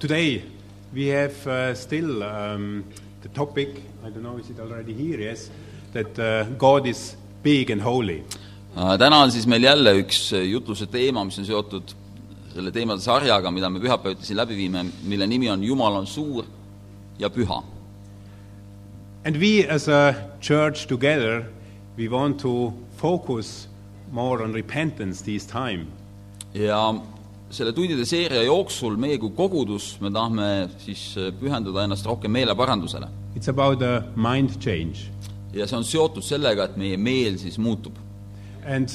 Today we have uh, still um, the topic, I don't know, is it already here? Yes, that uh, God is big and holy. Äh, täna on siis meil jälle üks äh, jutluse teema , mis on seotud selle teemade sarjaga , mida me pühapäeviti siin läbi viime , mille nimi on Jumal on suur ja püha . And we as a church together, we want to focus more on repentance this time. ja selle tundide seeria jooksul meie kui kogudus , me tahame siis äh, pühenduda ennast rohkem meeleparandusele . It's about a mind change. ja see on seotud sellega , et meie meel siis muutub . And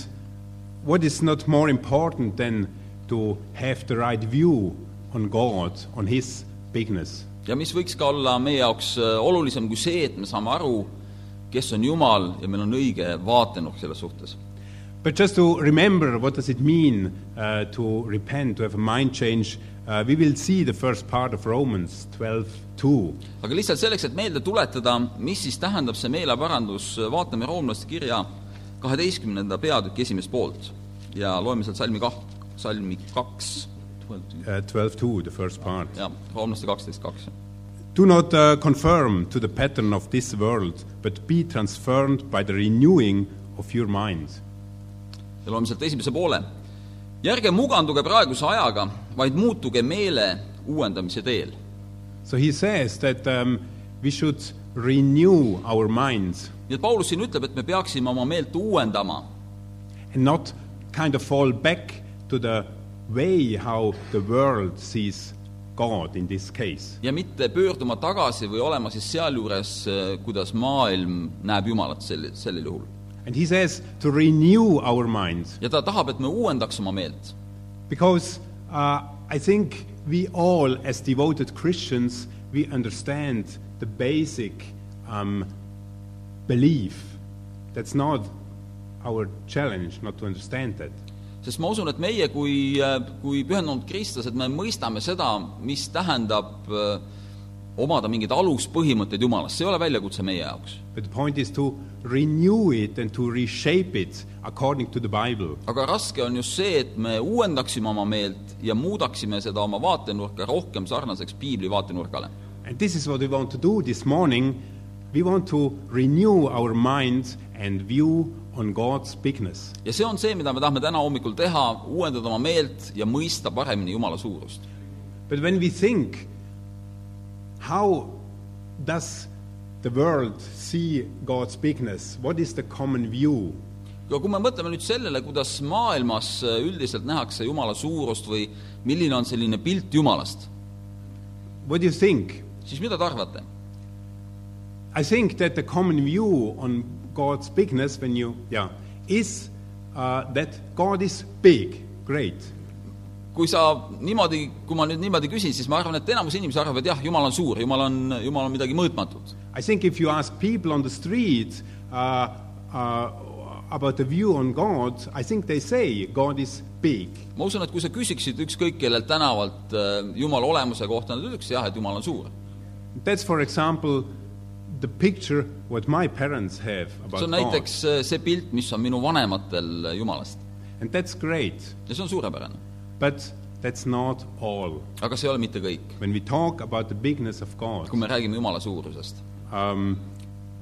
what is not more important than to have the right view on God, on His bigness? ja mis võiks ka olla meie jaoks äh, olulisem kui see , et me saame aru , kes on Jumal ja meil on õige vaatenurk selles suhtes But just to remember what does it mean uh, to repent, to have a mind change, uh, we will see the first part of Romans 12:2. aga lihtsalt selleks , et meelde tuletada , mis siis tähendab see meeleparandus , vaatame roomlaste kirja kaheteistkümnenda peatüki esimest poolt ja loeme sealt salmi kah- , salmi kaks , Uh, 12:2, the first part. jah , roomlaste kaksteist kaks . Do not uh, conform to the pattern of this world, but be transformed by the renewing of your mind. ja loeme sealt esimese poole . ja ärge muganduge praeguse ajaga , vaid muutuge meele uuendamise teel . So he says that um, we should renew our minds nii et Paulus siin ütleb , et me peaksime oma meelt uuendama and not kind of fall back to the way how the world sees God in this case. ja mitte pöörduma tagasi või olema siis sealjuures , kuidas maailm näeb Jumalat sel , sellel juhul . And he says to renew our minds ja ta tahab , et me uuendaks oma meelt because uh, I think we all, as devoted Christians, we understand the basic um, belief. That's not our challenge, not to understand that. sest ma usun , et meie kui , kui pühendunud kristlased , me mõistame seda , mis tähendab öö, omada mingeid aluspõhimõtteid Jumalast , see ei ole väljakutse meie jaoks . But the point is to renew it and to reshape it according to the Bible. aga raske on just see , et me uuendaksime oma meelt ja muudaksime seda oma vaatenurka rohkem sarnaseks piibli vaatenurgale . And this is what we want to do this morning. We want to renew our mind and view on God's bigness. ja see on see , mida me tahame täna hommikul teha , uuendada oma meelt ja mõista paremini Jumala suurust . But when we think, how does the world see God's bigness? What is the common view? ja kui me mõtleme nüüd sellele , kuidas maailmas öö, üldiselt nähakse Jumala suurust või milline on selline pilt Jumalast , What do you think? siis mida te arvate ? I think that the common view on God's bigness, when you, yeah, is uh, that God is big, great. kui sa niimoodi , kui ma nüüd niimoodi küsin , siis ma arvan , et enamus inimesi arvavad , jah , Jumal on suur , Jumal on , Jumal on midagi mõõtmatut . I think if you ask people on the street uh, uh, about the view on God, I think they say God is big. ma usun , et kui sa küsiksid ükskõik kellelt tänavalt äh, Jumala olemuse kohta , nad ütleks jah , et Jumal on suur . That's, for example, the picture what my parents have about see on God. näiteks äh, see pilt , mis on minu vanematel äh, Jumalast And that's great, ja see on suurepärane . but that's not all. aga see ei ole mitte kõik , When we talk about the bigness of God, kui me räägime Jumala suurusest . um,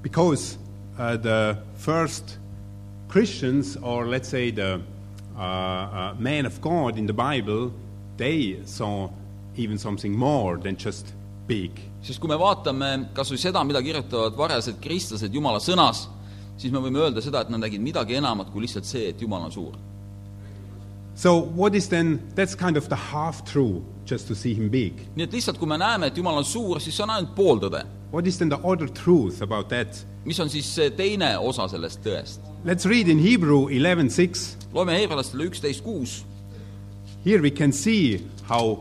because uh, the first Christians, or let's say the uh, uh, man of God in the Bible, they saw even something more than just big. sest kui me vaatame kas või seda , mida kirjutavad varjased kristlased Jumala sõnas , siis me võime öelda seda , et nad nägid midagi enamat kui lihtsalt see , et Jumal on suur So, what is then, that's kind of the half true, just to see him big. nii et lihtsalt , kui me näeme , et Jumal on suur , siis see on ainult pooltõde . What is then the other truth about that? mis on siis see teine osa sellest tõest ? Let's read in Hebrew 11:6. loeme heebrealastele üksteist kuus , Here we can see how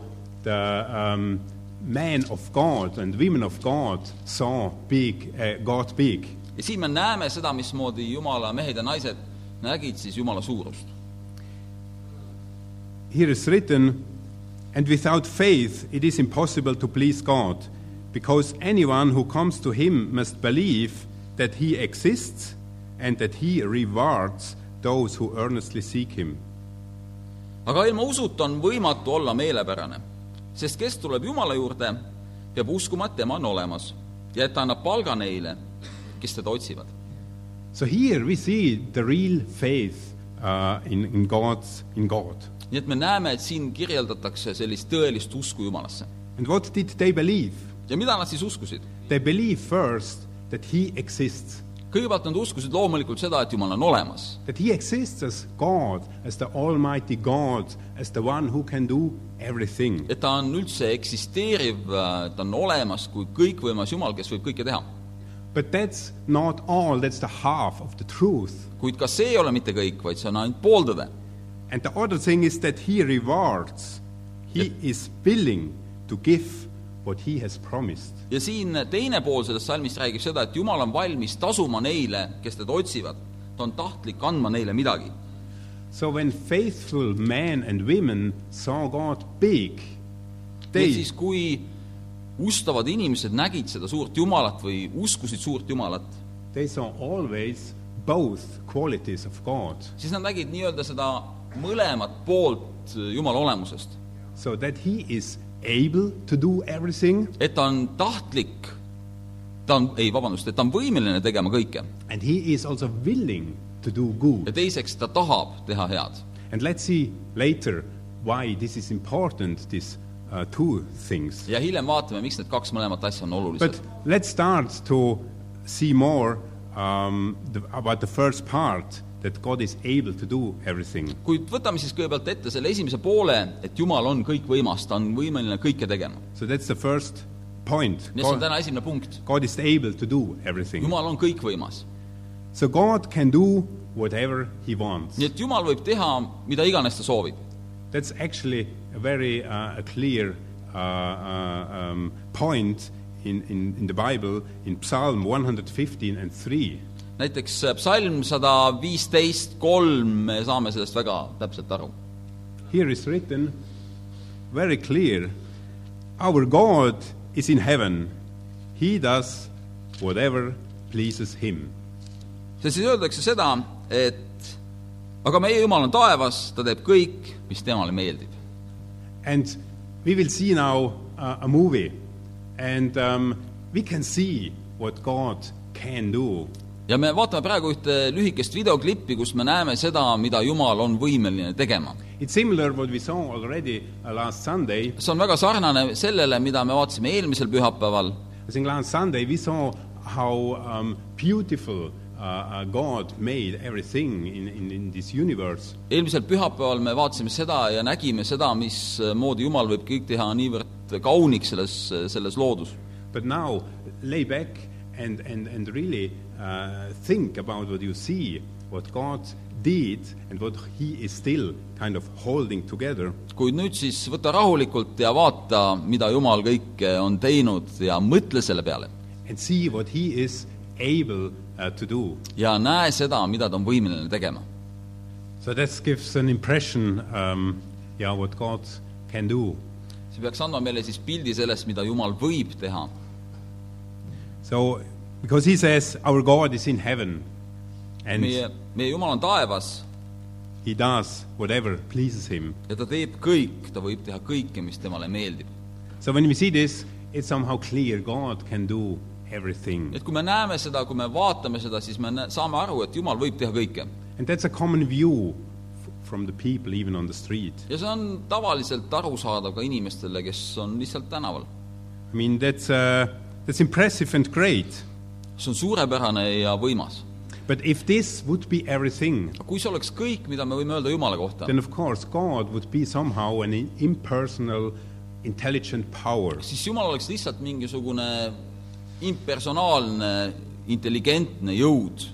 the um, men of God and women of God saw big, uh, God big. ja siin me näeme seda , mismoodi Jumala mehed ja naised nägid siis Jumala suurust . Here is written, and without faith it is impossible to please God, because anyone who comes to him must believe that he exists and that he rewards those who earnestly seek him. aga ilma usuta on võimatu olla meelepärane , sest kes tuleb Jumala juurde, peab uskuma, et tema on olemas ja et ta annab palga neile, kes teda otsivad. So here we see the real faith uh, in, in, God's, in God. nii et me näeme, et siin kirjeldatakse sellist tõelist usku Jumalasse . And what did they believe? ja mida nad siis uskusid ? They believe first that He exists, kõigepealt nad uskusid loomulikult seda , et Jumal on olemas , that He exists as God, as the Almighty God, as the one who can do everything. et ta on üldse eksisteeriv , ta on olemas kui kõikvõimas Jumal , kes võib kõike teha . But that's not all, that's the half of the truth. kuid ka see ei ole mitte kõik , vaid see on ainult pooltõde . And the other thing is that He rewards, He is willing to give what He has promised. ja siin teine pool sellest salmist räägib seda , et Jumal on valmis tasuma neile , kes teda otsivad . ta on tahtlik andma neile midagi . So when faithful men and women saw God big, nii et they siis , kui ustavad inimesed nägid seda suurt Jumalat või uskusid suurt Jumalat , they saw always both qualities of God. siis nad nägid nii-öelda seda mõlemat poolt äh, Jumala olemusest . So that He is able to do everything et ta on tahtlik , ta on , ei , vabandust , et ta on võimeline tegema kõike and He is also willing to do ja good. teiseks , ta tahab teha head And let's see later why this is important, these uh, two things. ja hiljem vaatame , miks need kaks mõlemat asja on But olulised . let's start to see more um, the, about the first part that God is able to do everything. kuid võtame siis kõigepealt ette selle esimese poole , et Jumal on kõikvõimas , ta on võimeline kõike tegema . So that's the first point. nii et see on God, täna esimene punkt . God is able to do everything. Jumal on kõikvõimas . So God can do whatever He wants. nii et Jumal võib teha mida iganes ta soovib . That's actually a very uh, a clear uh, uh, um, point in, in, in the Bible in Psalm 115 and 3. näiteks äh, psalm sada viisteist kolm , me saame sellest väga täpselt aru . Here is written very clear Our God is in heaven, He does whatever pleases Him. seal siis öeldakse seda , et aga meie Jumal on taevas , ta teeb kõik , mis temale meeldib . And we will see now uh, a movie, and um, we can see what God can do. ja me vaatame praegu ühte lühikest videoklippi , kus me näeme seda , mida Jumal on võimeline tegema . It's similar what we saw already uh, last Sunday. see on väga sarnane sellele , mida me vaatasime eelmisel pühapäeval I think last Sunday we saw how um, beautiful uh, uh, God made everything in, in, in this universe. eelmisel pühapäeval me vaatasime seda ja nägime seda , mismoodi Jumal võib kõik teha niivõrd kauniks selles , selles loodus . But now lay back and, and, and really uh, think about what you see, what God did, and what He is still kind of holding together. kuid nüüd siis võta rahulikult ja vaata , mida Jumal kõike on teinud ja mõtle selle peale . and see what he is able uh, to do. ja näe seda , mida ta on võimeline tegema . So that gives an impression, um, yeah, what God can do. see peaks andma meile siis pildi sellest , mida Jumal võib teha . So, because he says our God is in heaven, and meie , meie Jumal on taevas he does whatever pleases him. ja ta teeb kõik , ta võib teha kõike , mis temale meeldib . So when we see this, it's somehow clear God can do everything, et kui me näeme seda , kui me vaatame seda , siis me nä- saame aru , et Jumal võib teha kõike and that's a common view f- from the people, even on the street. ja see on tavaliselt arusaadav ka inimestele , kes on lihtsalt tänaval . I mean, that's uh, that's impressive and great. see on suurepärane ja võimas . But if this would be everything, kui see oleks kõik , mida me võime öelda Jumala kohta , then of course God would be somehow an in- impersonal, intelligent power. siis Jumal oleks lihtsalt mingisugune impersonaalne , intelligentne jõud .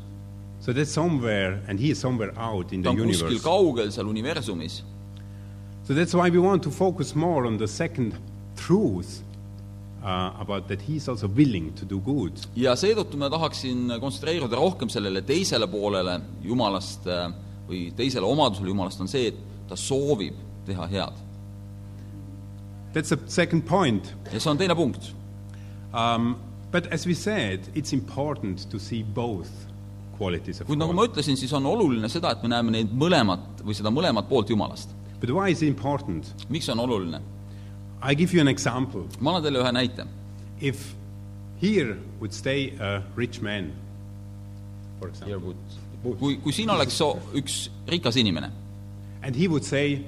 So that's somewhere, and He is somewhere out in ta the on kuskil universe. kaugel seal universumis . So that's why we want to focus more on the second truth uh, about that He is also willing to do good. ja seetõttu ma tahaksin kontsentreeruda rohkem sellele teisele poolele Jumalast äh, või teisele omadusele Jumalast , on see , et ta soovib teha head . That's the second point. ja see on teine punkt Um, but as we said, it's important to see both qualities of kuid nagu ma God. ütlesin , siis on oluline seda , et me näeme neid mõlemat või seda mõlemat poolt Jumalast . But why is it important? miks see on oluline ? I give you an example. ma annan teile ühe näite . If here would stay a rich man, for example, kui , kui siin oleks so- üks rikas inimene and he would say,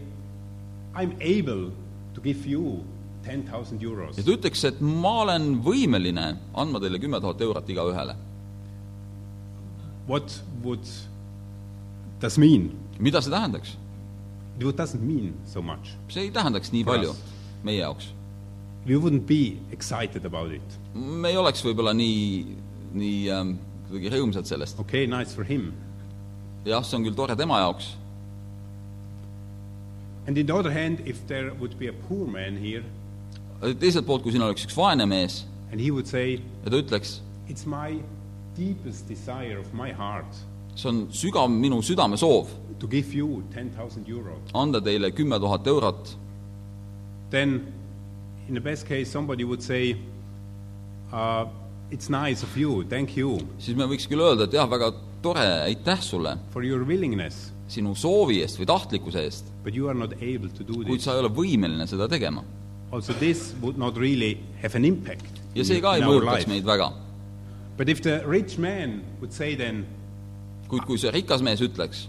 I'm able to give you 10,000 ja euros. ta ütleks , et ma olen võimeline andma teile kümme tuhat eurot igaühele , What would does mean? mida see tähendaks ? It doesn't mean so much. see ei tähendaks nii palju meie jaoks . We wouldn't be excited about it. me ei oleks võib-olla nii , nii ähm, kuidagi rõõmsad sellest . Okay, nice for him. jah , see on küll tore tema jaoks , And on the other hand, if there would be a poor man here, teiselt poolt , kui siin oleks üks vaene mees and he would say, ja ta ütleks , It's my deepest desire of my heart see on sügav minu südamesoov to give you 10,000 euros. anda teile kümme tuhat eurot , Then, in the best case, somebody would say, uh, It's nice of you, thank you siis me võiks küll öelda , et jah , väga tore , aitäh sulle for your willingness, sinu soovi eest või tahtlikkuse eest , but you are not able to do kuid this. sa ei ole võimeline seda tegema . Also, this would not really have an impact ja see ka in ei our mõjutaks life. meid väga . But if the rich man would say then, kuid kui see rikas mees ütleks ,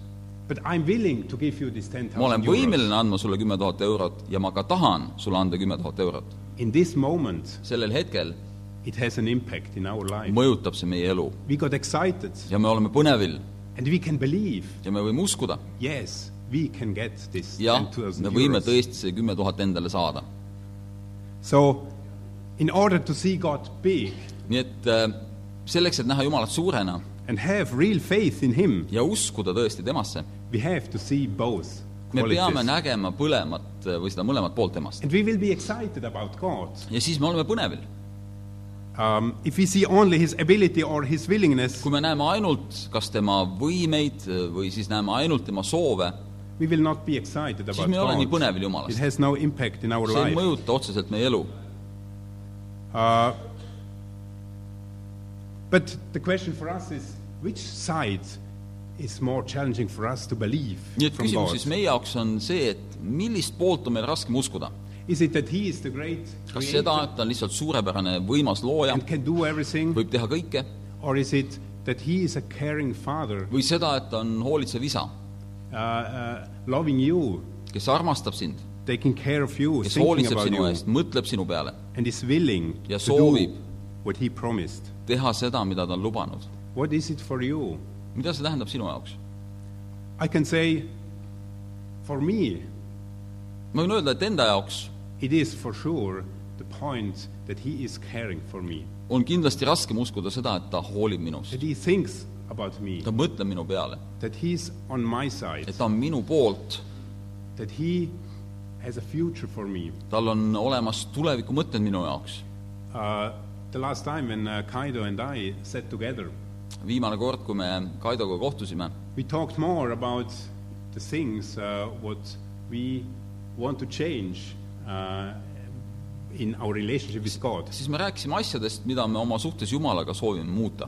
But I'm willing to give you this 10,000 ma olen euros. võimeline andma sulle kümme tuhat eurot ja ma ka tahan sulle anda kümme tuhat eurot , In this moment, sellel hetkel it has an impact in our life. mõjutab see meie elu We got excited ja me oleme põnevil and we can believe, ja me võime uskuda , yes, we can get this jah , 10,000 me võime euros. tõesti see kümme tuhat endale saada . So, in order to see God big nii et äh, selleks , et näha Jumalat suurena and have real faith in Him, ja uskuda tõesti temasse , we have to see both me peame qualities. nägema põlemat äh, või seda mõlemat poolt temast . And we will be excited about God. ja siis me oleme põnevil Um, if we see only His ability or His willingness, kui me näeme ainult kas tema võimeid äh, või siis näeme ainult tema soove , we will not be excited siis about me ei ole nii God. põnevil It Jumalast . has no impact in our see ei life. mõjuta otseselt meie elu . Uh, but the question for us is which side is more challenging for us to believe nii et from küsimus God? siis meie jaoks on see , et millist poolt on meil raskem uskuda . Is it that He is the great kas creator seda , et ta on lihtsalt suurepärane võimas looja and , can do everything? võib teha kõike , Or is it that He is a caring Father või seda , et ta on hoolitsev isa , uh, uh, loving you, kes armastab sind , taking care of you, kes thinking hoolitseb about sinu you, eest , mõtleb sinu peale , and is willing Ja to soovib. do what He promised? teha seda , mida ta on lubanud . What is it for you? mida see tähendab sinu jaoks ? I can say, for me, ma võin öelda , et enda jaoks it is for sure the point that He is caring for me. on kindlasti raskem uskuda seda , et ta hoolib minust , that he thinks about me, ta mõtleb minu peale that he's on my side, et ta on minu poolt , that he has a future for me. tal on olemas tulevikumõtted minu jaoks . Uh, the last time when uh, Kaido and I sat together, viimane kord , kui me Kaidoga kohtusime , we talked more about the things uh, what we want to change uh, in our relationship with God. siis me rääkisime asjadest , mida me oma suhtes Jumalaga soovime muuta .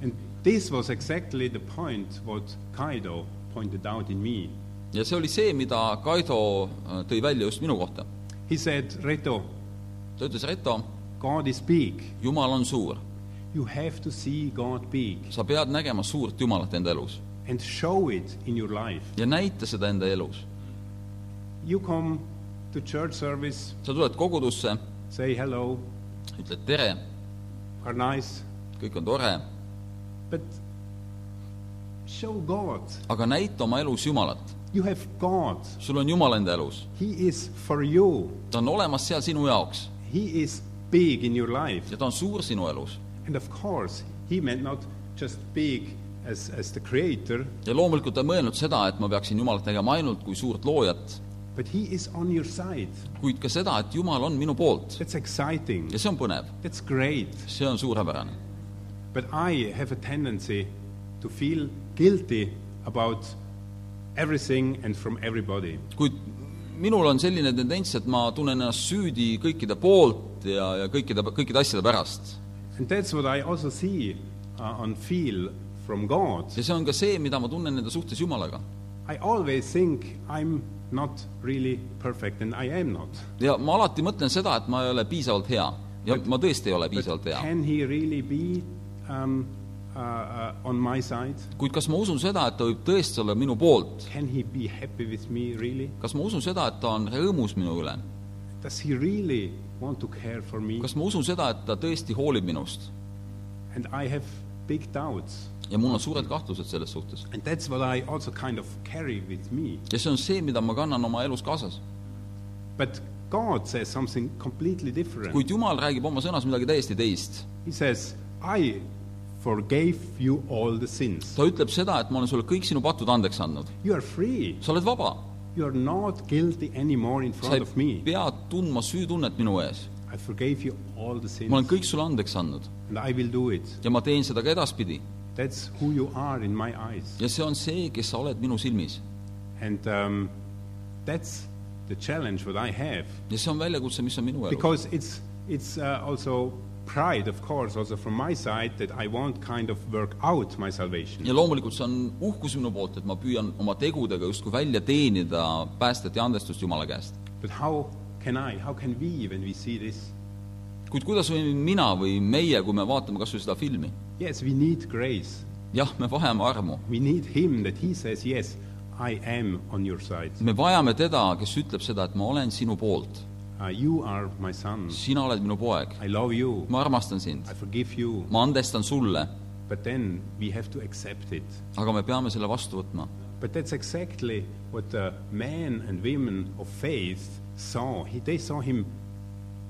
And this was exactly the point what Kaido pointed out in me. ja see oli see , mida Kaido äh, tõi välja just minu kohta . He said, Reto, ta ütles , Reto , God is big. Jumal on suur , You have to see God big sa pead nägema suurt Jumalat enda elus and show it in your life. ja näita seda enda elus . You come to church service, sa tuled kogudusse , say hello, ütled tere , are nice, kõik on tore , but show God. aga näita oma elus Jumalat . You have God. sul on Jumal enda elus , He is for you. ta on olemas seal sinu jaoks He is big in your life. ja ta on suur sinu elus And of course, He meant not just big as, as the creator, ja loomulikult ei mõelnud seda , et ma peaksin Jumalat nägema ainult kui suurt loojat , but He is on your side. kuid ka seda , et Jumal on minu poolt That's exciting. ja see on põnev , That's great. see on suurepärane . But I have a tendency to feel guilty about everything and from everybody. kuid minul on selline tendents , et ma tunnen ennast süüdi kõikide poolt ja , ja kõikide , kõikide asjade pärast . And that's what I also see uh, and feel from God. ja see on ka see , mida ma tunnen enda suhtes Jumalaga . I always think I'm not really perfect, and I am not. ja ma alati mõtlen seda , et ma ei ole piisavalt hea ja ma tõesti ei ole piisavalt hea , Can He really be um, uh, uh, on my side? kuid kas ma usun seda , et ta võib tõesti olla minu poolt ? Can He be happy with me, really? kas ma usun seda , et ta on rõõmus minu üle ? Does He really want to care for me? kas ma usun seda , et ta tõesti hoolib minust ? And I have big doubts. ja mul on suured kahtlused selles suhtes . And that's what I also kind of carry with me. ja see on see , mida ma kannan oma elus kaasas . But God says something completely different. kuid Jumal räägib oma sõnas midagi täiesti teist . He says, I forgave you all the sins. ta ütleb seda , et ma olen sulle kõik sinu patud andeks andnud . You are free. sa oled vaba . You are not guilty anymore in sa front ei of me. pea tundma süütunnet minu ees . I forgave you all the ma olen sins. kõik sulle andeks andnud And I will do it. ja ma teen seda ka edaspidi . That's who you are in my eyes. ja see on see , kes sa oled minu silmis . And um, that's the challenge what I have. ja see on väljakutse , mis on minu elus . Because it's, it's uh, also pride, of course, also from my side, that I won't kind of work out my salvation. ja loomulikult see on uhkus minu poolt , et ma püüan oma tegudega justkui välja teenida päästet ja andestust Jumala käest . But how can I, how can we, when we see this? kuid kuidas võin mina või meie , kui me vaatame kas või seda filmi , Yes, we need grace. jah , me vajame armu . We need Him that He says, Yes, I am on your side. me vajame teda , kes ütleb seda , et ma olen sinu poolt , Uh, you are my son. sina oled minu poeg , I love you. ma armastan sind I , forgive you. ma andestan sulle , But then we have to accept it. aga me peame selle vastu võtma . But that's exactly what the men and women of faith saw. He, they saw Him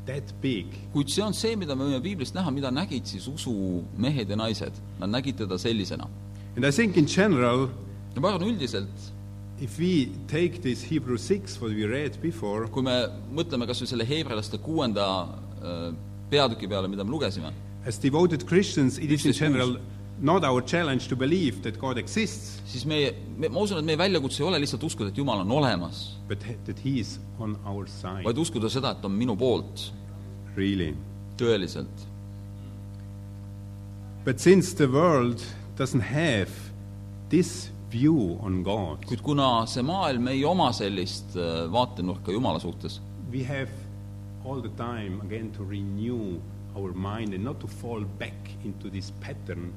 that big. kuid see on see , mida me võime piiblist näha , mida nägid siis usumehed ja naised , nad nägid teda sellisena . And I think, in general, ja ma arvan üldiselt , if we take this Hebrew 6, what we read before, kui me mõtleme kas või selle heebrealaste kuuenda äh, peatüki peale , mida me lugesime , as devoted Christians, it is, in This is good. general, not our challenge to believe that God exists, siis meie me, , ma usun , et meie väljakutse ei ole lihtsalt uskuda , et Jumal on olemas , but that He is on our side. vaid uskuda seda , et ta on minu poolt Really. tõeliselt . But since the world doesn't have this view on God, kuid kuna see maailm ei oma sellist äh, vaatenurka Jumala suhtes , we have all the time again to renew our mind and not to fall back into this pattern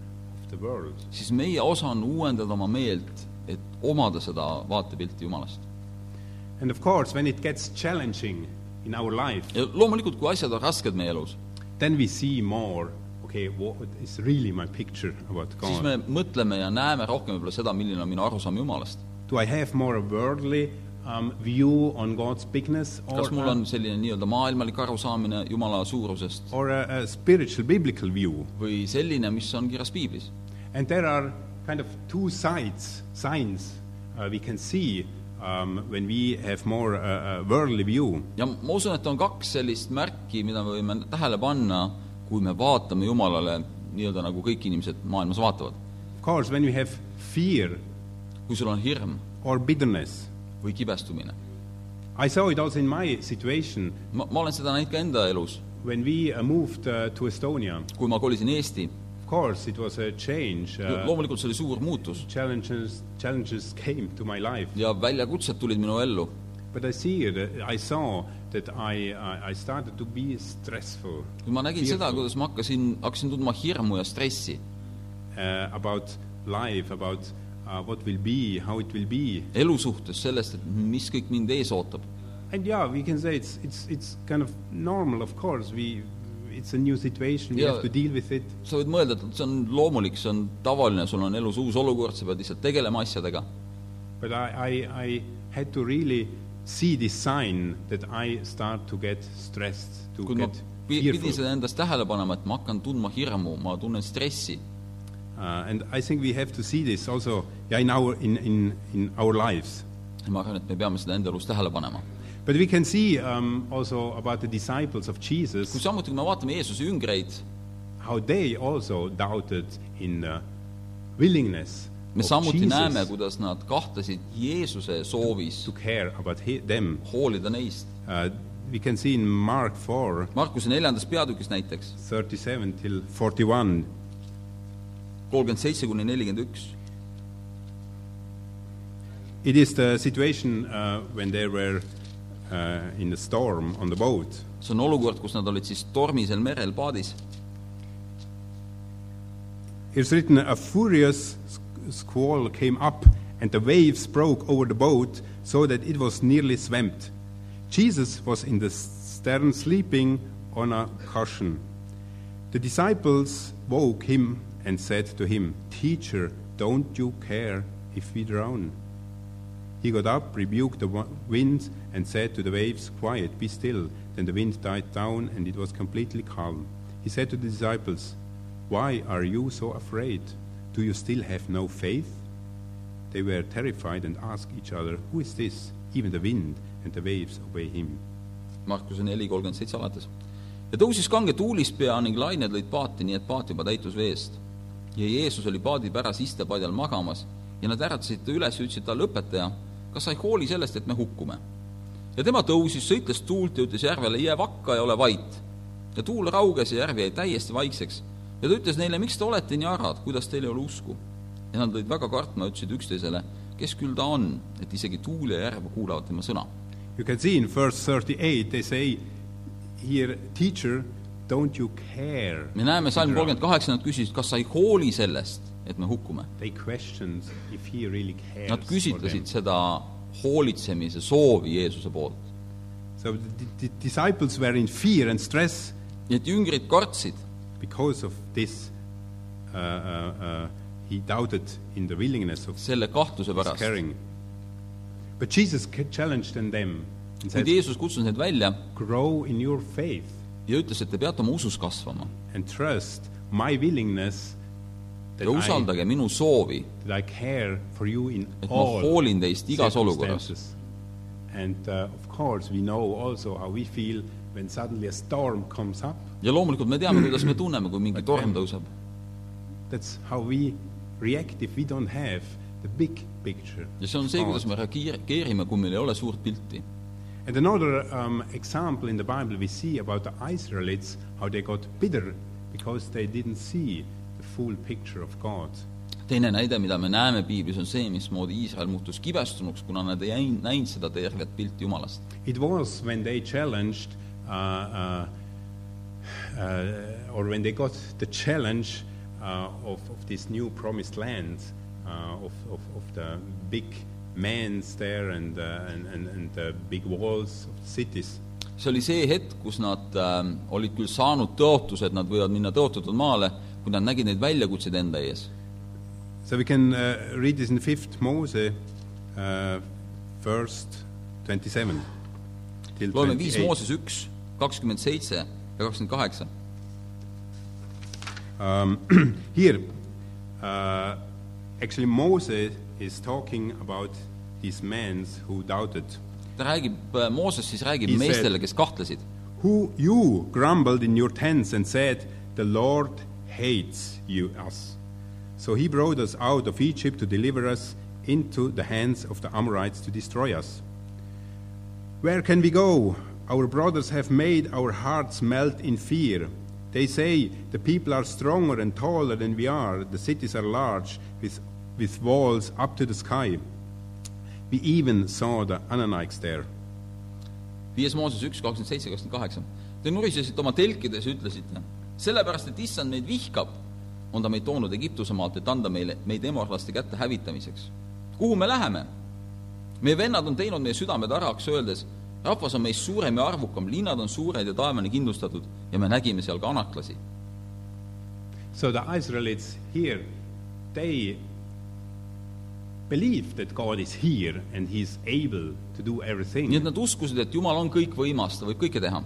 of the world. siis meie osa on uuendada oma meelt , et omada seda vaatepilti Jumalast . And of course, when it gets challenging in our life, ja loomulikult , kui asjad on rasked meie elus , then we see more okay, what is really my picture about siis God? me mõtleme ja näeme rohkem võib-olla seda , milline on minu arusaam Jumalast . Do I have more a worldly um, view on God's bigness or, kas mul a- on selline nii-öelda maailmalik arusaamine Jumala suurusest or a, a spiritual, biblical view? või selline , mis on kirjas piiblis ? And there are kind of two sides, signs uh, we can see um, when we have more uh, uh, worldly view. ja ma usun , et on kaks sellist märki , mida me võime tähele panna , kui me vaatame Jumalale nii-öelda nagu kõik inimesed maailmas vaatavad . Of course, when we have fear kui sul on hirm or bitterness. või kibestumine . I saw it also in my situation ma , ma olen seda näinud ka enda elus , when we uh, moved uh, to Estonia. kui ma kolisin Eesti , Of course, it was a change. Uh, loomulikult see oli suur muutus challenges, challenges came to my life, ja väljakutsed tulid minu ellu , but I see it. I saw that I, uh, I, I started to be stressful kui ma nägin seda , kuidas ma hakkasin , hakkasin tundma hirmu ja stressi uh, about life, about uh, what will be, how it will be. elu suhtes , sellest , et mis kõik mind ees ootab . And yeah, we can say it's it's it's kind of normal. Of course, we it's a new situation. We Yeah. have to deal with it. sa võid mõelda , et see on loomulik , see on tavaline , sul on elus uus olukord , sa pead lihtsalt tegelema asjadega But I, I I had to really see this sign that I start to get stressed, to kui ma get pi- pidin fearful. seda endas tähele panema , et ma hakkan tundma hirmu , ma tunnen stressi . Uh, and I think we have to see this also yeah, in our in, in, in our lives. ma arvan , et me peame seda enda elus tähele panema . But we can see um, also about the disciples of kui Jesus samuti , kui me vaatame Jeesuse üngreid , how they also doubted in the willingness me of samuti Jesus. näeme , Oh, Jesus kuidas nad kahtlesid Jeesuse soovis to care about he, them. hoolida neist . Uh, we can see in Mark 4, Markuse neljandas peatükis näiteks , 37 till 41, kolmkümmend seitse kuni nelikümmend üks , It is the situation uh, when they were uh, in the storm on the boat. see on olukord , kus nad olid siis tormisel merel paadis It's written, a furious squ- squall came up, and the waves broke over the boat so that it was nearly swamped. Jesus was in the stern sleeping on a cushion. The disciples woke him and said to him, Teacher, don't you care if we drown? He got up, rebuked the wa- wind, and said to the waves, Quiet, be still. Then the wind died down, and it was completely calm. He said to the disciples, Why are you so afraid? Do you still have no faith? They were terrified and asked each other, Who is this? Even the wind and the waves obey him. Markuse neli kolmkümmend seitse alates . ja tõusis kange tuulis pea ning lained lõid paati , nii et paat juba täitus veest . ja Jeesus oli paadi päras istepadjal magamas ja nad äratasid ta üles ja ütlesid talle , õpetaja , kas sa ei hooli sellest , et me hukkume ? ja tema tõusis , sõitles tuult ja ütles järvele , jää vakka ja ole vait . ja tuul rauges ja järv jäi täiesti vaikseks . ja ta ütles neile , miks te olete nii arad , kuidas teil ei ole usku ? ja nad lõid väga kartma , ütlesid üksteisele , kes küll ta on , et isegi tuul ja järv kuulavad tema sõna You can see in verse 38, they say here, Teacher, don't you care? me näeme salm kolmkümmend kaheksa , nad küsisid , kas sa ei hooli sellest , et me hukkume . They questioned if he really cares. for Nad them. küsitlesid seda hoolitsemise soovi Jeesuse poolt . So the, the disciples were in fear and stress nii et jüngrid kartsid , because of this. Uh, uh, uh, he doubted in the willingness of selle kahtluse pärast . caring. But Jesus ca- challenged them and kuid said, Jeesus kutsus neid välja Grow in your faith ja ütles , et te peate oma usus kasvama and trust my willingness that, ja I, usaldage minu soovi , that I care for you in et ma all hoolin teist igas olukorras . circumstances. And uh, of course, we know also how we feel when suddenly a storm comes up. ja loomulikult me teame , kuidas me tunneme , kui mingi torm tõuseb . That's how we react if we don't have the big picture. ja see on see , kuidas me reageerime , kui meil ei ole suurt pilti . And another um, example in the Bible we see about the Israelites, how they got bitter because they didn't see the full picture of God. teine näide , mida me näeme piiblis , on see , mismoodi Iisrael muutus kibestunuks , kuna nad ei näinud- näinud seda tervet pilti Jumalast . It was when they challenged, uh, uh, uh, or when they got the challenge uh, of, of this new promised land, uh, of, of, of the big mans there and, uh, and, and, and the big walls of the cities. see oli see hetk , kus nad äh, olid küll saanud tõotuse , et nad võivad minna tõotatud maale , kuid nad nägid neid väljakutseid enda ees . So we can uh, read this in 5th Mose, uh, first 27 till loeme viis 28. Mooses üks , kakskümmend seitse ja kakskümmend kaheksa . Here, uh, actually, Moses is talking about these men who doubted. ta räägib , Mooses siis räägib He said- meestele , kes kahtlesid . Who you grumbled in your tents and said, The Lord hates you us. So he brought us out of Egypt to deliver us into the hands of the Amorites to destroy us. Where can we go? Our brothers have made our hearts melt in fear. They say, The people are stronger and taller than we are, the cities are large, with, with walls up to the sky. We even saw the Ananites there. viies Mooses üks , kakskümmend seitse , kakskümmend kaheksa . Te nurisesite oma telkides ja ütlesite , sellepärast , et issand meid vihkab , on ta meid toonud Egiptuse maalt , et anda meile , meid emorlaste kätte hävitamiseks . kuhu me läheme ? meie vennad on teinud meie südamed äraks , öeldes , rahvas on meist suurem ja arvukam , linnad on suured ja taevani kindlustatud ja me nägime seal kanaklasi . So the Israelites here, they believe that God is here and He's able to do nii et everything. nad uskusid , et Jumal on kõikvõimas , ta võib kõike teha .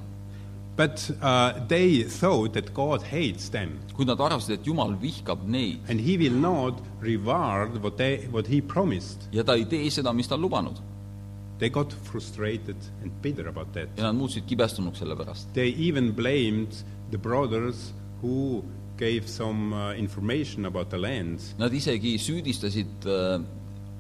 But uh, they thought that God hates them kuid nad arvasid , et Jumal vihkab neid and He will not reward what, they, what He promised. ja ta ei tee seda , mis ta on lubanud . They got frustrated and bitter about that. ja nad muutusid kibestunuks selle pärast . They even blamed the brothers who gave some uh, information about the land. Nad isegi süüdistasid öö,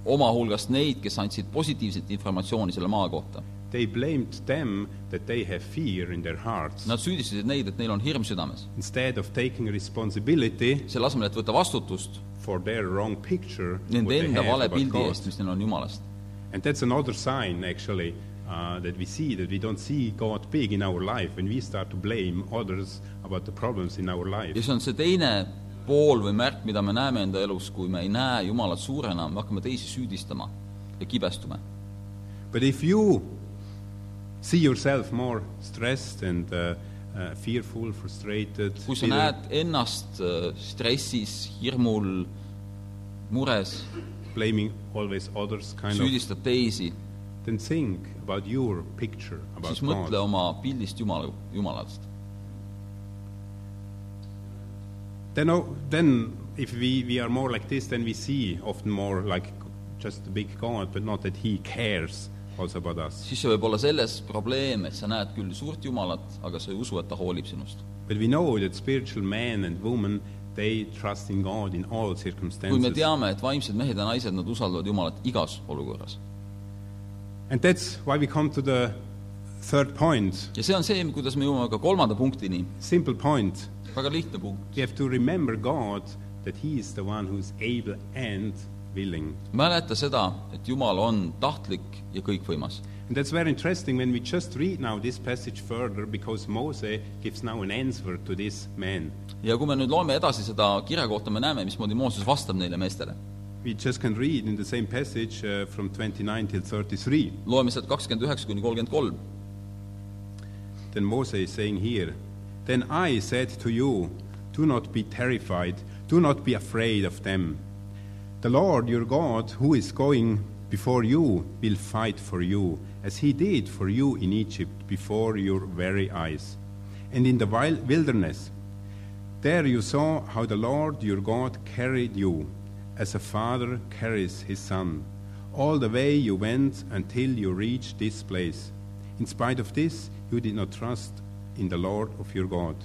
oma hulgast neid , kes andsid positiivset informatsiooni selle maa kohta . They blamed them that they have fear in their hearts. Nad süüdistasid neid , et neil on hirm südames . Instead of taking responsibility selle asemel , et võtta vastutust for their wrong picture what nende they enda have vale about pildi God. eest , mis neil on Jumalast . And that's another sign, actually, uh, that we see that we don't see God big in our life when we start to blame others about the problems in our life. ja see on see teine pool või märk , mida me näeme enda elus , kui me ei näe Jumalat suurena , me hakkame teisi süüdistama ja kibestume . But if you see yourself more stressed and uh, uh, fearful, frustrated, kui sa bitter, näed ennast äh, stressis , hirmul , mures , blaming always others, kind of, süüdistad teisi , then think about your picture about siis mõtle God. oma pildist Jumala , Jumalast . Then, oh, then if we, we are more like this, then we see often more like just a big God, but not that He cares also about us. siis see võib olla selles probleem , et sa näed küll suurt Jumalat , aga sa ei usu , et ta hoolib sinust . But we know that spiritual men and women, they trust in God in all kui me circumstances. teame , et vaimsed mehed ja naised , nad usaldavad Jumalat igas olukorras . And that's why we come to the third point, ja see on see , kuidas me jõuame ka kolmanda punktini , simple point. väga lihtne punkt . We have to remember God that He is the one who is able and willing. mäleta seda , et Jumal on tahtlik ja kõikvõimas . And that's very interesting when we just read now this passage further because Moses gives now an answer to this man. ja kui me nüüd loeme edasi seda kirja kohta , me näeme , mismoodi Mooses vastab neile meestele . We just can read in the same passage uh, from 29 till 33. loeme sealt kakskümmend üheksa kuni kolmkümmend kolm . Then Moses is saying here, Then I said to you, Do not be terrified, do not be afraid of them. The Lord your God, who is going before you, will fight for you, as he did for you in Egypt before your very eyes, and in the wil- wilderness. There you saw how the Lord your God carried you, as a father carries his son, all the way you went until you reached this place. In spite of this, you did not trust in the Lord of your God,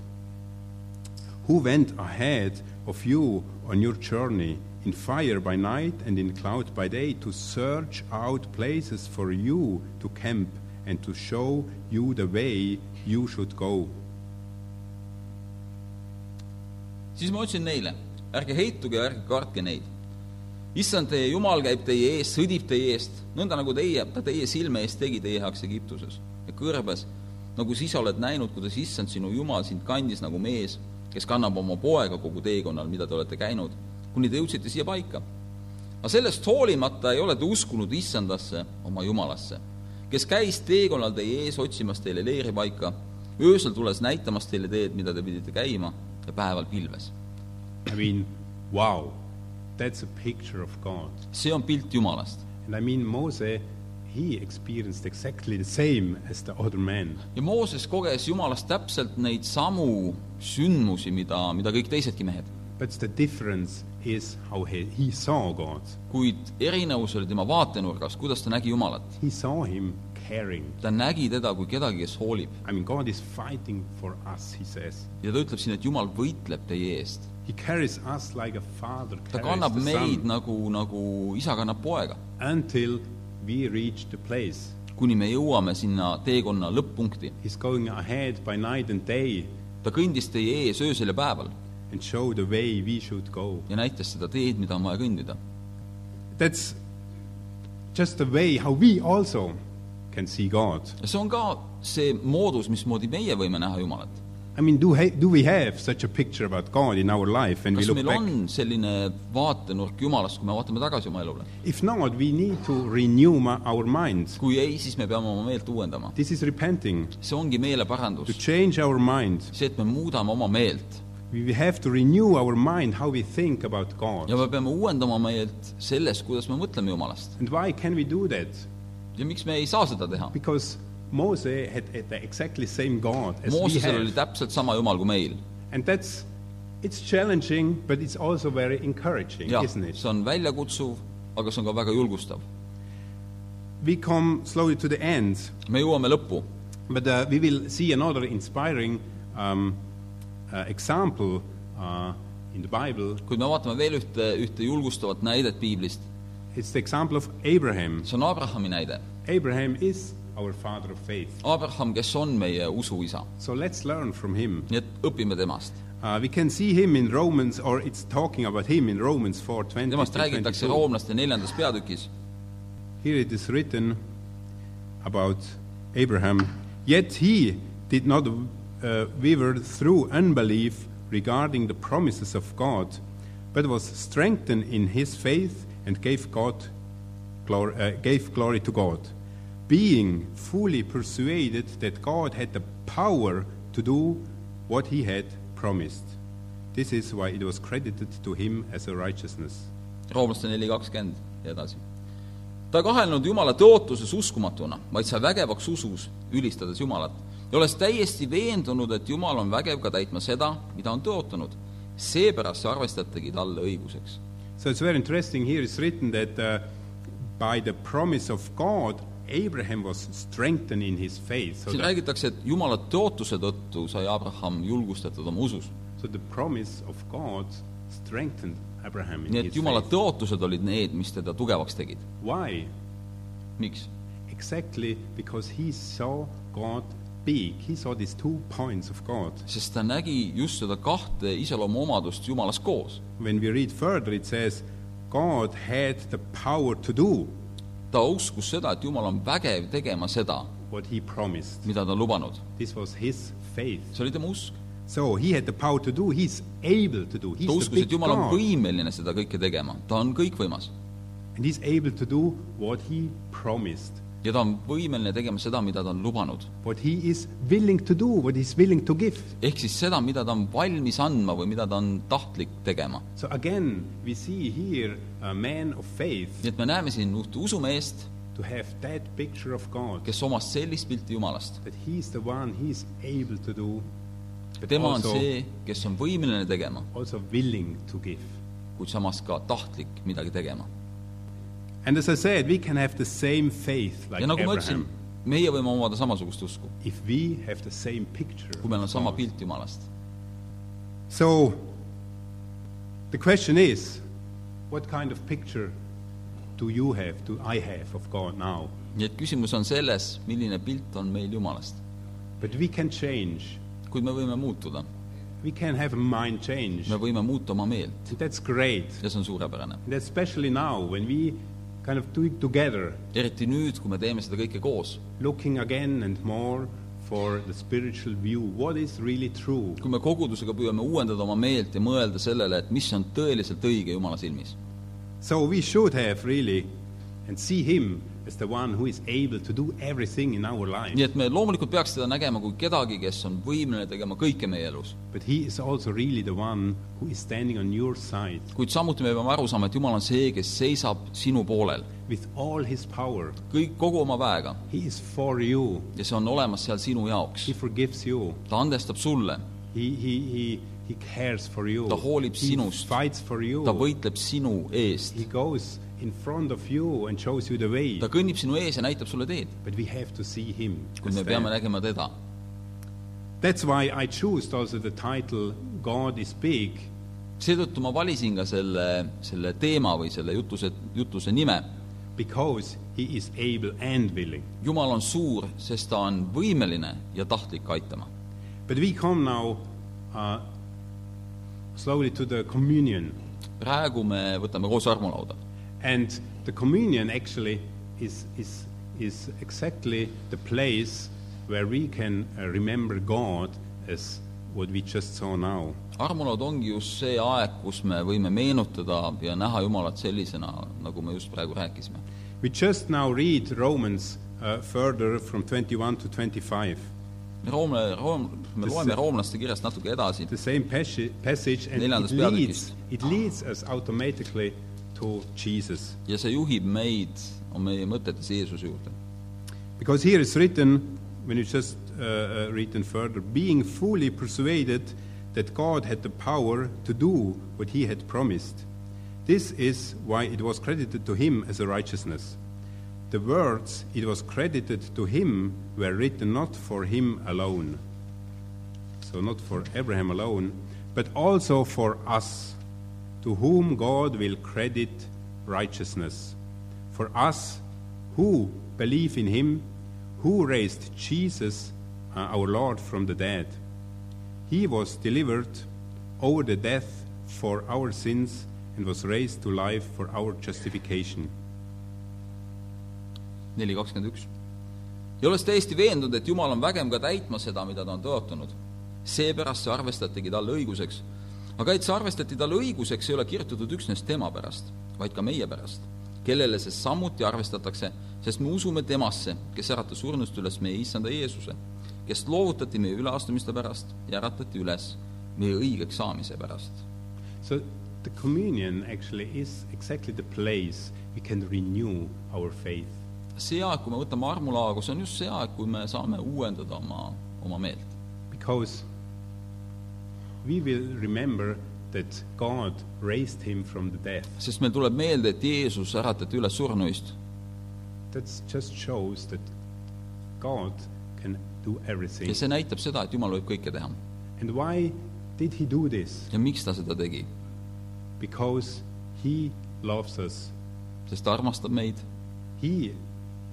who went ahead of you on your journey in fire by night and in cloud by day to search out places for you to camp and to show you the way you should go. siis ma ütlesin neile , ärge heituge ja ärge kartke neid . issand teie Jumal käib teie ees , sõdib teie eest , nõnda nagu teie , ta teie silme ees tegi teie heaks Egiptuses ja kõrbes , nagu siis oled näinud , kuidas issand sinu Jumal sind kandis nagu mees , kes kannab oma poega kogu teekonnal , mida te olete käinud , kuni te jõudsite siia paika . aga sellest hoolimata ei ole te uskunud issandasse , oma Jumalasse , kes käis teekonnal teie ees otsimas teile leeripaika , öösel tulles näitamas teile teed , mida te pidite käima ja päeval pilves I mean, wow, that's a picture of God. see on pilt Jumalast . And I mean, Moses, he experienced exactly the same as the other man. ja Mooses koges Jumalast täpselt neid samu sündmusi , mida , mida kõik teisedki mehed . But the difference is how he, he saw God. kuid erinevus oli tema vaatenurgas , kuidas ta nägi Jumalat . He saw him caring. ta nägi teda kui kedagi , kes hoolib . I mean, God is fighting for us, he says. ja ta ütleb siin , et Jumal võitleb teie eest . He carries us like a father ta carries kannab the meid son nagu , nagu isa kannab poega , until we reach the place. kuni me jõuame sinna teekonna lõpp-punkti . He's going ahead by night and day ta kõndis teie ees öösel ja päeval and show the way we should go. ja näitas seda teed , mida on vaja kõndida . That's just the way how we also can see God. ja see on ka see moodus , mismoodi meie võime näha Jumalat I mean, do, ha- do we have such a picture about God in our life when we kas look meil back? on selline vaatenurk Jumalast , kui me vaatame tagasi oma elule ? If not, we need to renew ma- our minds. kui ei , siis me peame oma meelt uuendama . This is repenting. see ongi To meeleparandus , change our mind, see , et me muudame oma meelt we have to renew our mind how we think about ja God. me peame uuendama meelt selles , kuidas me mõtleme Jumalast . And why can we do that? ja miks me ei saa seda teha ? Because Moses had, had the exactly same God as we Moosesel oli have. täpselt sama Jumal kui meil . And that's, it's challenging, but it's also very encouraging, jah , isn't it? see on väljakutsuv , aga see on ka väga julgustav . We come slowly to the end, me jõuame lõppu But uh, we will see another inspiring um, uh, example uh, in the Bible. kuid me vaatame veel ühte , ühte julgustavat näidet piiblist . It's the example of Abraham. see on Abrahami näide . Abraham is our father of faith. Abraham , kes on meie usuisa . So let's learn from him. nii et õpime temast Uh, we can see him in Romans, or it's talking about him in Romans 4 20. temast räägitakse roomlaste neljandas peatükis Here it is written about Abraham Yet he did not uh, waver through unbelief regarding the promises of God, but was strengthened in his faith and gave, God, glor- uh, gave glory to God, being fully persuaded that God had the power to do what he had promised. This is why it was credited to him as a righteousness. roomlaste neli kakskümmend ja edasi . ta ei kahelnud Jumala tõotuses uskumatuna , vaid sai vägevaks usus , ülistades Jumalat ja olles täiesti veendunud , et Jumal on vägev ka täitma seda , mida on tõotanud . seepärast arvestatigi talle õiguseks . So it's very interesting. Here it's written that uh, by the promise of God, Abraham was strengthened in his faith. So, siin that, räägitakse , et Jumala tõotuse tõttu sai Abraham julgustatud oma usus . so the promise of God strengthened Abraham in nii his et Jumala faith. tõotused olid need , mis teda tugevaks tegid . Why? miks ? Exactly because he saw God big. He saw these two points of God. sest ta nägi just seda kahte iseloomuomadust Jumalas koos . When we read further, it says, God had the power to do ta uskus seda , et Jumal on vägev tegema seda , what he promised. mida ta on lubanud . This was his faith. see oli tema usk . So he had the power to do, he's able to do. He's ta the uskus , big et Jumal on God. võimeline seda kõike tegema , ta on kõikvõimas And he's able to do what he promised, ja ta on võimeline tegema seda , mida ta on lubanud . what he is willing to do, what he's willing to give. ehk siis seda , mida ta on valmis andma või mida ta on tahtlik tegema . So again, we see here a man of faith nii et me näeme siin ühte usumeest , to have that picture of God, kes omas sellist pilti Jumalast . that he's the one he's able to do, but tema on also, see , kes on võimeline tegema , also willing to give. kuid samas ka tahtlik midagi tegema . And as I said, we can have the same faith like ja nagu ma ütlesin Abraham , meie võime omada samasugust usku , if we have the same picture. kui meil on of sama God. pilt Jumalast . So the question is, what kind of picture do you have, do I have of God now? nii et küsimus on selles , milline pilt on meil Jumalast . But we can change. kuid me võime muutuda , We can have a mind change. me võime muuta oma meelt That's great. ja see on suurepärane . And especially now when we kind of do it together, eriti nüüd , kui me teeme seda kõike koos , looking again and more for the spiritual view. What is really true? kui me kogudusega püüame uuendada oma meelt ja mõelda sellele , et mis on tõeliselt õige Jumala silmis . So we should have really and see Him as the one who is able to do everything in our life. nii et me loomulikult peaks teda nägema kui kedagi , kes on võimeline tegema kõike meie elus , But He is also really the one who is standing on your side kuid samuti me peame aru saama , et Jumal on see , kes seisab sinu poolel with all His power. kõik kogu oma väega He is for you. ja see on olemas seal sinu jaoks He . forgives you. ta andestab sulle , He, he, he, he cares for you. Ta hoolib he sinust. fights for you. ta võitleb sinu eest He , goes in front of you and shows you the way. ta kõnnib sinu ees ja näitab sulle teed , But we have to see him. to kuid me peame stand. nägema teda . That's why I chose also the title God is Big, seetõttu ma valisin ka selle , selle teema või selle jutuse , jutuse nime because he is able and willing. jumal on suur , sest ta on võimeline ja tahtlik aitama . But we come now uh, slowly to the communion. praegu me võtame koos armulauda And the communion actually is, is, is exactly the place where we can uh, remember God as what we just saw now. armulaud ongi just see aeg , kus me võime meenutada ja näha Jumalat sellisena , nagu me just praegu rääkisime . We just now read Romans uh, further from 21 to 25, Roome , Room , me This- loeme roomlaste kirjast natuke edasi , the same pas- passage, and it Neljandas leads, peatükis. it leads us automatically to Jesus. ja see juhib meid , on meie mõtetes Jeesuse juurde . Because here is written, when you just uh, uh, written further, being fully persuaded that God had the power to do what he had promised. This is why it was credited to him as a righteousness. The words it was credited to him were written not for him alone, so not for Abraham alone, but also for us, to whom God will credit righteousness. For us who believe in him, who raised Jesus, uh, our Lord, from the dead. He was delivered over the death for our sins and was raised to life for our justification. neli kakskümmend üks . ja olles täiesti veendunud , et Jumal on vägev ka täitma seda , mida ta on tõotanud . seepärast see arvestatigi talle õiguseks . aga et see arvestati talle õiguseks , ei ole kirjutatud üksnes tema pärast , vaid ka meie pärast , kellele see samuti arvestatakse , sest me usume temasse , kes äratas surnust üles meie issanda Jeesuse , kes loovutati meie üleastumiste pärast ja äratati üles meie õigeks saamise pärast So the communion actually is exactly the place we can renew our faith. see aeg , kui me võtame armulaagu , see on just see aeg , kui me saame uuendada oma , oma meelt . Because we will remember that God raised him from the death. sest meil tuleb meelde , et Jeesus äratati üles surnuist . That just shows that God can do everything. ja see näitab seda , et Jumal võib kõike teha . And why did he do this? ja miks ta seda tegi ? Because he loves us. sest ta armastab meid , He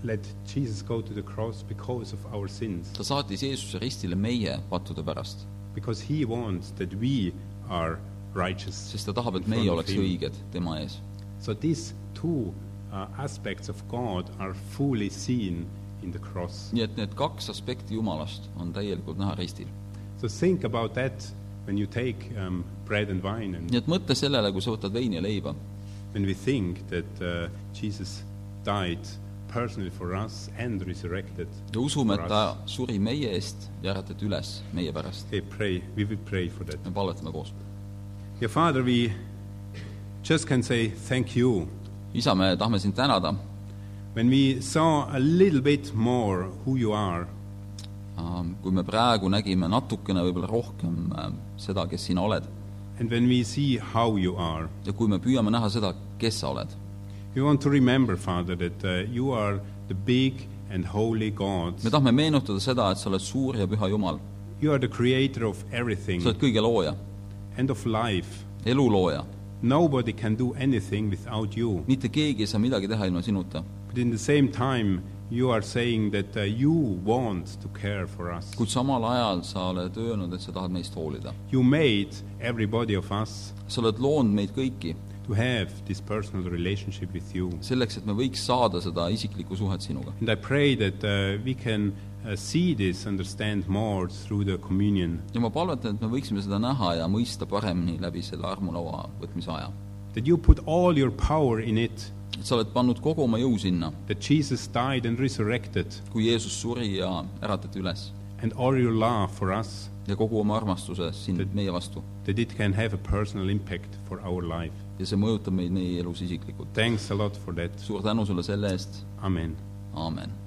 let Jesus go to the cross because of our sins. ta saatis Jeesuse ristile meie pattude pärast , Because he wants that we are righteous. sest ta tahab , et in front meie of oleks him. õiged tema ees . So these two uh, aspects of God are fully seen in the cross. nii et need kaks aspekti Jumalast on täielikult näha ristil . So think about that when you take um, bread and wine, and nii et mõtle sellele , kui sa võtad veini ja leiba , when we think that uh, Jesus died personally for us and resurrected. ja usume , for us. et ta suri meie eest ja äratati üles meie pärast . Okay, pray. We will pray for that. me palvetame koos . Dear Father, we just can say thank you. isa , me tahame sind tänada When we saw a little bit more who you are, Ähm, kui me praegu nägime natukene võib-olla rohkem äh, seda , kes sina oled and when we see how you are, ja kui me püüame näha seda , kes sa oled , We want to remember, Father, that uh, you are the big and holy God. me tahame meenutada seda , et sa oled suur ja püha Jumal , You are the creator of everything sa oled kõige looja , and of life. elu looja , Nobody can do anything without you. mitte keegi ei saa midagi teha ilma sinuta . But in the same time, you are saying that uh, you want to care for us. kuid samal ajal sa oled öelnud , et sa tahad meist hoolida . You made everybody of us sa oled loonud meid kõiki to have this personal relationship with you. selleks , et me võiks saada seda isiklikku suhet sinuga . And I pray that uh, we can uh, see this, understand more through the communion. ja ma palvetan , et me võiksime seda näha ja mõista paremini läbi selle armulaua võtmise aja . That you put all your power in it. et sa oled pannud kogu oma jõu sinna , That Jesus died and resurrected. kui Jeesus suri ja äratati üles and all your love for us ja kogu oma armastuse sind meie vastu that it can have a personal impact for our life. ja see mõjutab meid meie elus isiklikult . Thanks a lot for that. suur tänu sulle selle eest , Amen. aamen